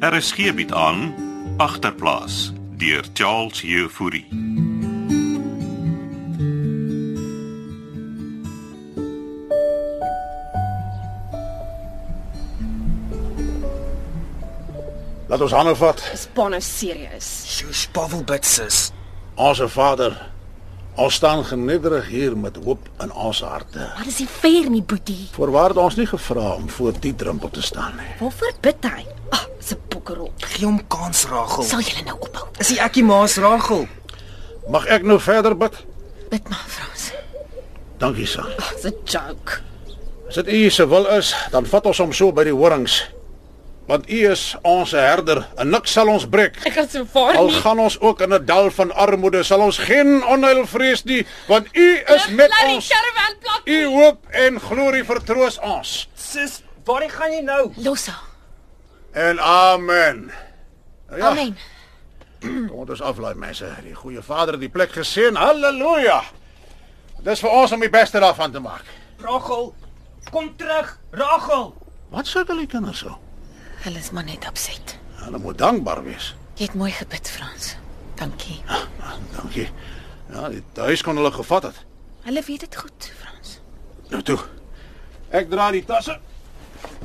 Er is geebiet aan agterplaas deur Charles Jefouri. Laat ons hande vat. Spanne serieus. Sjoes, Pavel Bitsis. Onse Vader, ons staan genederig hier met hoop in ons harte. Wat is die fair nie, Boetie? Voorwaar het ons nie gevra om voor die drempel te staan nie. Waarvoor bid hy? Ag, oh, se bokkerol. Gee hom kans, Ragel. Sal julle nou ophou? Is hy ekkie maas Ragel? Mag ek nou verder bid? Bid maar, Frans. Dankie, San. Ag, oh, se joke. As dit u se wil is, dan vat ons hom so by die horings. Want u is ons herder en niks sal ons breek. Ek kan so vaar Al gaan ons ook in 'n dal van armoede, sal ons geen onheil vrees nie, want u is met ons. karwel plak. U hoop en glorie vertroos ons. Sis, waar gaan jy nou? Lossa. En amen. Nou Ja, Amen. Kom ons aflaai mense. Die goeie Vader het die plek geseën. Halleluja. Dis vir ons om die beste daarvan te maak. Ragel, kom terug, Ragel. Wat sukkel die kinders so? Hulle is maar net opset. Hulle moet dankbaar wees. Jy het mooi gebid, Frans. Dankie. Dankie. Ja, die huis kon hulle gevat het. Hulle weet dit goed, Frans. Nou toe. Ek dra die tasse.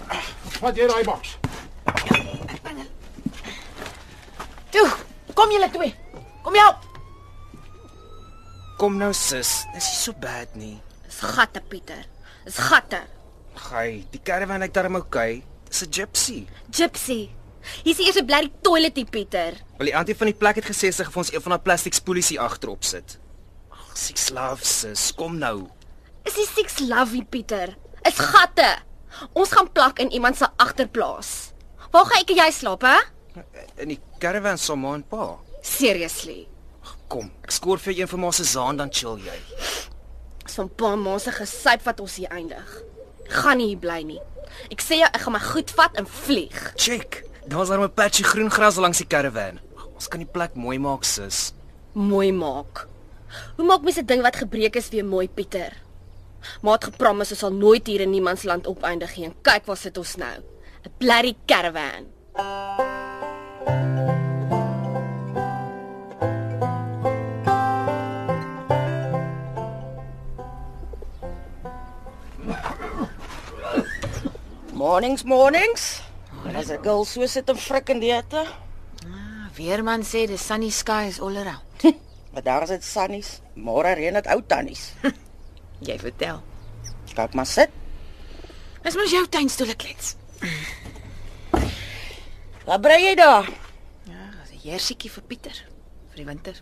Ah, Vat jy daai boks? Toe, kom julle twee. Kom help. Kom nou, sis. Dis nie so bad nie. Dis gatte, Pieter. Dis gatte. Gai, die caravan lyk darem okay. Dis 'n gypsy. Gypsy. Hier's eers 'n blerrie toiletie, Pieter. Wel die antie van die plek het gesê sy gaan vir ons een van haar plastiek spoelies agterop sit. Ag, six love, sis. Kom nou. Is die six lovey, Pieter? Is gatte. Ons gaan plak in iemand se agterplaas. Waar gaan ek en jy slaap, hè? In die caravan saam met ma en pa. Seriously. Kom, ek skoor vir jou een van ma se zaan dan chill jy. Dis van pa ma se gesyp wat ons hier eindig. Gaan nie hier bly nie. Ek sê jou, ek gaan my goed vat en vlieg. Check. Daar's daar 'n patjie groen gras langs die caravan. Ons kan die plek mooi maak, sis. Mooi maak. Hoe maak mens 'n ding wat gebreek is weer mooi, Pieter? Maat gepromis ons sal nooit hier in niemands land opeindig nie. En kyk waar sit ons nou. 'n Blerrie caravan. Mornings, mornings. En as 'n girl so sit en frik in die hitte, Weerman sê the sunny sky is all around. maar daar is dit sannies. Môre reën dit ou tannies. Jy vertel. Kyk maar sit. Dis mos jou tuinstoele klets. Wat brei jy daar? Ja, dis 'n heersietjie vir Pieter vir die winter.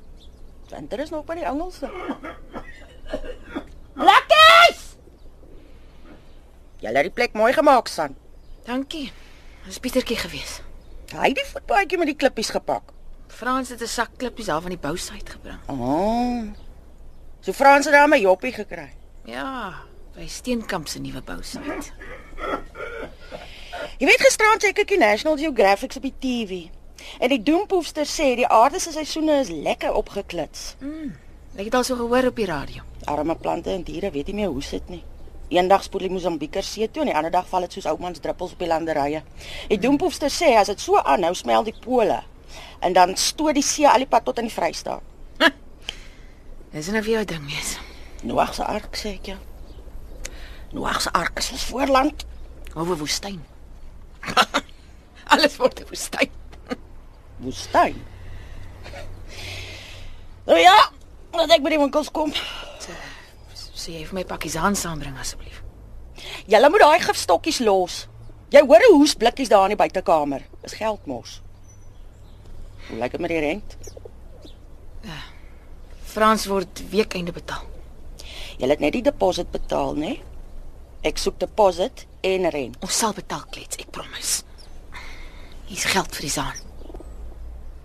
Want daar is nog by die Engelse. Lekkies! Jy het die plek mooi gemaak, son. Dankie. Dis Pietertjie gewees. Hy het die voetpaadjie met die klippies gepak. Frans het 'n sak klippies daar van die bouse uit gebring. Oh. So Frans het daar my joppie gekry. Ja, by Steenkamp se nuwe bouse uit. Jy weet gisterand kyk ek die National Geographic op die TV. En die doempoefster sê die aarde se seisoene is lekker opgeklits. Ek het al so gehoor op die radio. Arme plante en diere weet nie meer hoe sit nie. Eendag spoel die Mosambieker see toe en die ander dag val dit soos oumans druppels op die landerye. Die doempoefster sê as dit so aanhou, smelt die pole en dan stoot die see al die pad tot in die Vrystaat. Dis nou vir jou ding wees. Noag se ark sê ek jou. Noag se ark is ons voorland. Of 'n woestyn. Alles word 'n woestyn. Woestyn. Nou ja, laat ek by die winkels kom. Sê jy vir my pakkies aan saambring asseblief. Julle moet daai gifstokkies los. Jy hoor hoe hoes blikkies daar in die buitekamer. Dis geld mors. Hoe lyk dit met die rent? Frans word weekeinde betaal. Julle het net die deposit betaal, né? Ek soek deposit en rent. Ons sal betaal klets, ek promise. Hier's geld vir die saan.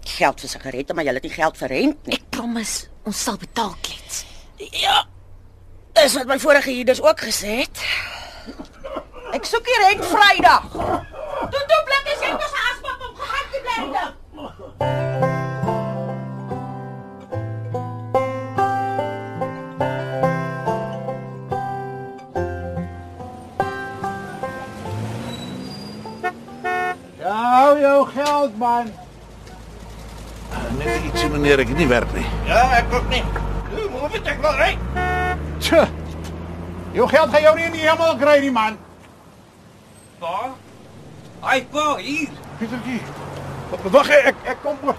Geld vir sigarette, maar julle het nie geld vir rent nie. Ek promise, ons sal betaal klets. Ja. Dis wat my vorige huurders ook gesê het. Ek soek die rent Vrydag. Toe toe blikkies, jy moet se aspap op gehad te bly dan. Ja, jou geld man. Ah, Net ietsie meneer ek nie werk nie. Ja, ek ook nie. Doe, moet dit ek wel ry. Tja. Jou geld gaan jou nie in die hemel kry nie man. Pa. Ai, pa, hier. Pietertjie. Wat wag ek ek kom oor.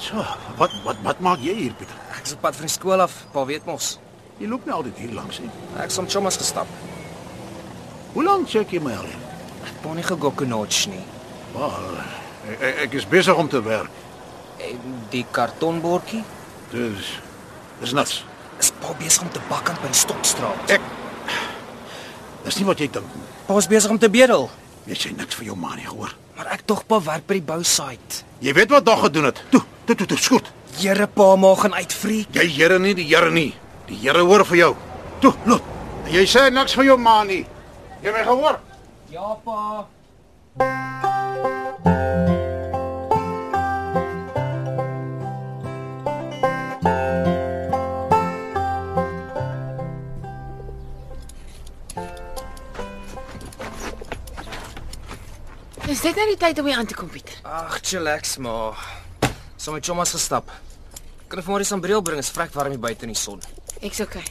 So, wat wat wat maak jy hier, Pieter? Ek is op pad van die skool af, pa weet mos. Jy loop nou altyd hier langs hè. Ek het soms chomas gestap. Hoe lank check jy my al? in? Ek pon nie gegokkenoch nie. Wel, ek, ek- ek is besig om te werk. En die kartonbordjie Dus dis niks. is pa besig om te bakkant by die Stokstraat. Ek Dis nie wat jy dink nie. Pa is besig om te bedel, Jy sê niks vir jou ma nie, hoor. maar ek tog pa werk by die bousite. Jy weet wat dog gedoen het. Toe, toe toe toe skoot. Here pa maak gaan uitfreek. Jy Here nie, die Here nie. Die Here hoor vir jou. Toe, loop. Jy sê niks vir jou ma nie. Jy het my gehoor? Ja pa. Is dit nou die tyd om hier aan te kom, Pieter? Ag, chillax maar. Sommige chomas gestap. Kan ek vir môre die sambreel bring? Dit's vrek warm hier buite in die son. Ek's okay.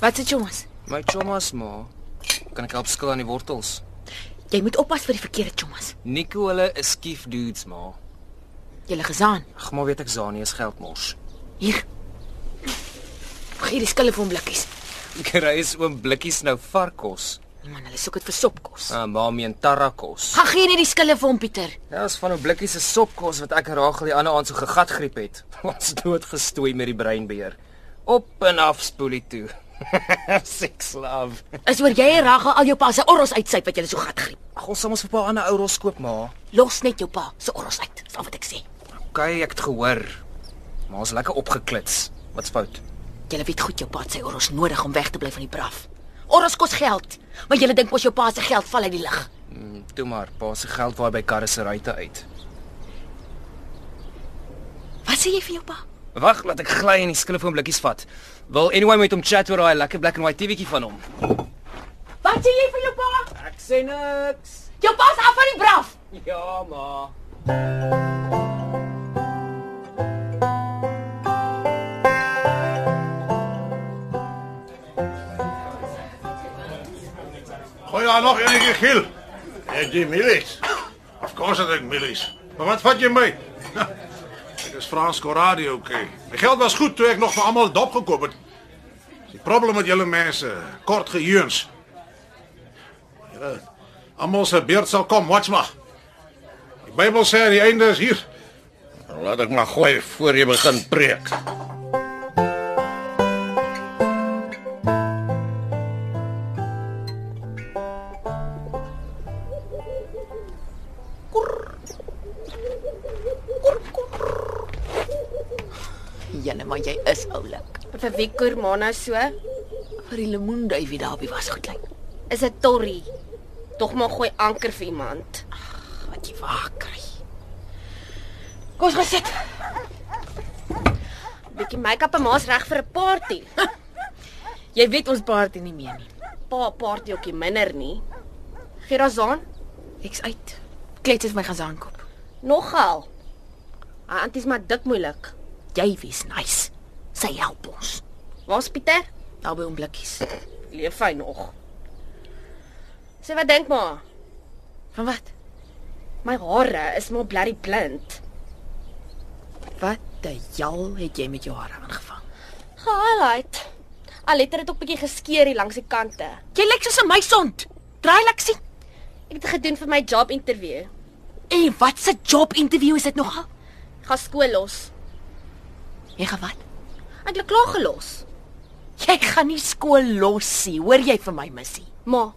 Wat sê Jomas? My chomas maar. Kan ek help skil aan die wortels? Jy moet oppas vir die verkeerde Jomas. Nico hulle is skief dudes maar. Jy lê gesaan. Ag, maar weet ek Zani is geldmors. Hier. Hier is skille vir hom blikkies. Kry is oom blikkies nou varkos. Nee man, hulle soek dit vir sopkos. Ah, ma meen tarrakos. Gaan gee net die skille vir hom, Pieter. Ja, is van 'n blikkie se sopkos wat ek en Rachel die ander aand so gegat griep het. Ons dood gestoei met die breinbeer. Op en af spoelie toe. Six love. Is oor jy en Ragga al jou pa se orrels uitsyp wat jy so gat griep. Ag, ons sal ons vir 'n paar ander ou rols koop maar. Los net jou pa se orrels uit. Dis al wat ek sê. Okay, ek het gehoor. Maar ons is lekker opgeklits. Wat's fout? Jy weet goed jou pa het sy orrels nodig om weg te bly van die braaf. Orrels kos geld, maar jy dink mos jou pa se geld val uit die lug. Mm, toe maar, pa se geld waai by karre se ruitte uit. Wat sê jy vir jou pa? Wag, laat ek gly en die skillefoon blikkies vat. Wil anyway met hom chat oor daai lekker black and white TV'tjie van hom. Wat sê jy vir jou pa? Ek sê niks. Jou pa is af van die braaf. Ja, ma. Gooi daar nog enige giel. Het jy milies? Of course het ek milies. Maar wat vat jy my? Ek is Frans Coradio, okay. My geld was goed toe ek nog vir almal dop gekoop het. Dis die probleem met julle mense, kort geheuens. Julle almal se beurt sal kom, watch maar. Die Bybel sê aan die einde is hier. Laat ek maar gooi voor jy begin preek. Jene, maar jy is oulik. Vir wie koer ma nou so? Vir die lemoenduifie daar op die wasgoed lyk. Is 'n torrie. Tog maar gooi anker vir iemand. Wat jy waar kry. Kom ons gaan sit. Bietjie make-up en ma's reg vir 'n party. Jy weet ons paartjie nie meer nie. Pa party ookie minder nie. Gerazaan Ek's uit. Klets het my gaan saankoop. nogal. Hy anties Ah, maar dik moeilik. Jy wees nice. Sy help ons. Waar's Pieter? Daar by hom blikkies. Leef hy nog? Sê wat dink maar? Van wat? My hare is maar blerry blind. Wat die jal het jy met jou hare aangevang? Highlight. Al het dit ook bietjie geskeur hier langs die kante. Jy lyk soos 'n meisond. Draai lekker sien. Ek het dit gedoen vir my job onderhoud. En wat se job interview is dit nogal? Gaan skool los. Jy gaan wat? Ek het klaar gelos. Jy gaan nie skool los nie, hoor jy vir my missie? Ma,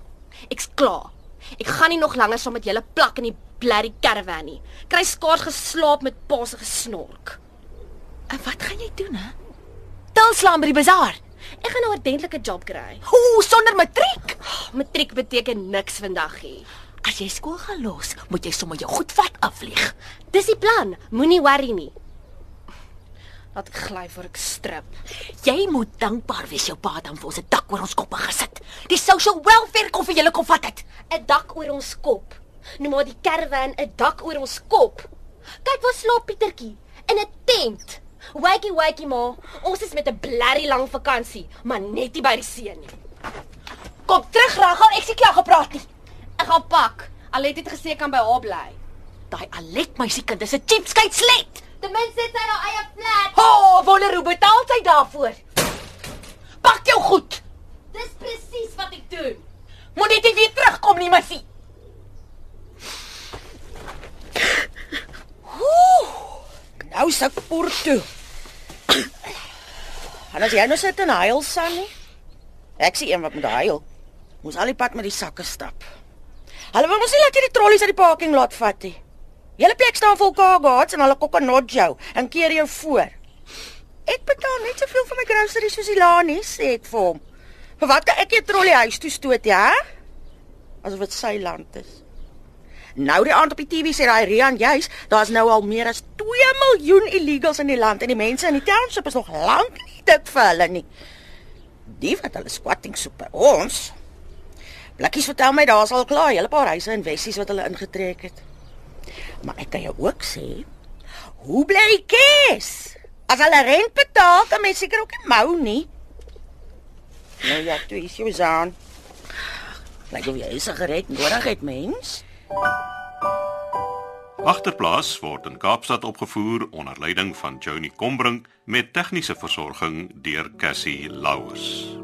ek's klaar. Ek gaan nie nog langer saam met julle plak in die blerry caravan nie. Kry skaars geslaap met pa se gesnork. En wat gaan jy doen, hè? Tilslaan by die bazaar. Ek gaan nou 'n ordentlike job kry. Ah, Ooh, sonder matriek. Matriek beteken niks vandag hier. As jy skool gaan los, moet jy sommer jou goed vat afvlieg. Dis die plan. Moenie worry nie. Laat ek gly voor ek strip. Jy moet dankbaar wees jou pa het dan vir ons 'n dak oor ons koppe gesit. Die social welfare kon vir julle kom vat het. 'n Dak oor ons kop. Noem maar die caravan 'n dak oor ons kop. Kyk waar slaap Pietertjie in 'n tent. Wakey wakey ma, ons is met 'n blerrie lang vakansie, maar net nie by die see nie. Kom terug, Ragga, ek sê klaar gepraat nie. Ek gaan pak. Alet het gesê ek kan by haar bly. Daai Alet meisiekind is 'n cheapskate slet. Ten minste het sy haar eie plek. Ho, oh, wonder hoe betaal sy daarvoor? Pak jou goed. Dis presies wat ek doen. Moet net nie weer terugkom nie, Massie. Nou sak poer toe. En as jy nou sit en huil san nie. Ek sien een wat moet huil. Moes al die pad met die sakke stap. Hulle wou mos nie laat jy die trollies uit die parking lot vat nie. Julle plek staan vol cargoats en hulle kokonot jou en keer jou voor. Ek betaal net soveel vir my groceries soos die lanies, sê ek vir hom. Vir wat kan ek jou trollie huis toe stoot, ja? Asof dit sy land is. Nou die aand op die TV sê daai Rian juis, daar's nou al meer as 2 miljoen illegals in die land en die mense in die township is nog lank nie dik vir hulle nie. Die wat hulle squatting soek by ons. Blikkies vertel my daar's al klaar 'n hele paar huise in Wessies wat hulle ingetrek het. Maar ek kan jou ook sê, hoe bly die kes? As hulle rent betaal, kan mens seker ook nie mou nie. Nou ja, toe is jou saan. Lyk of jy 'n sigaret nodig het, mens. Agterplaas word in Kaapstad opgevoer onder leiding van Johnny Combrink met tegniese versorging deur Cassie Louws.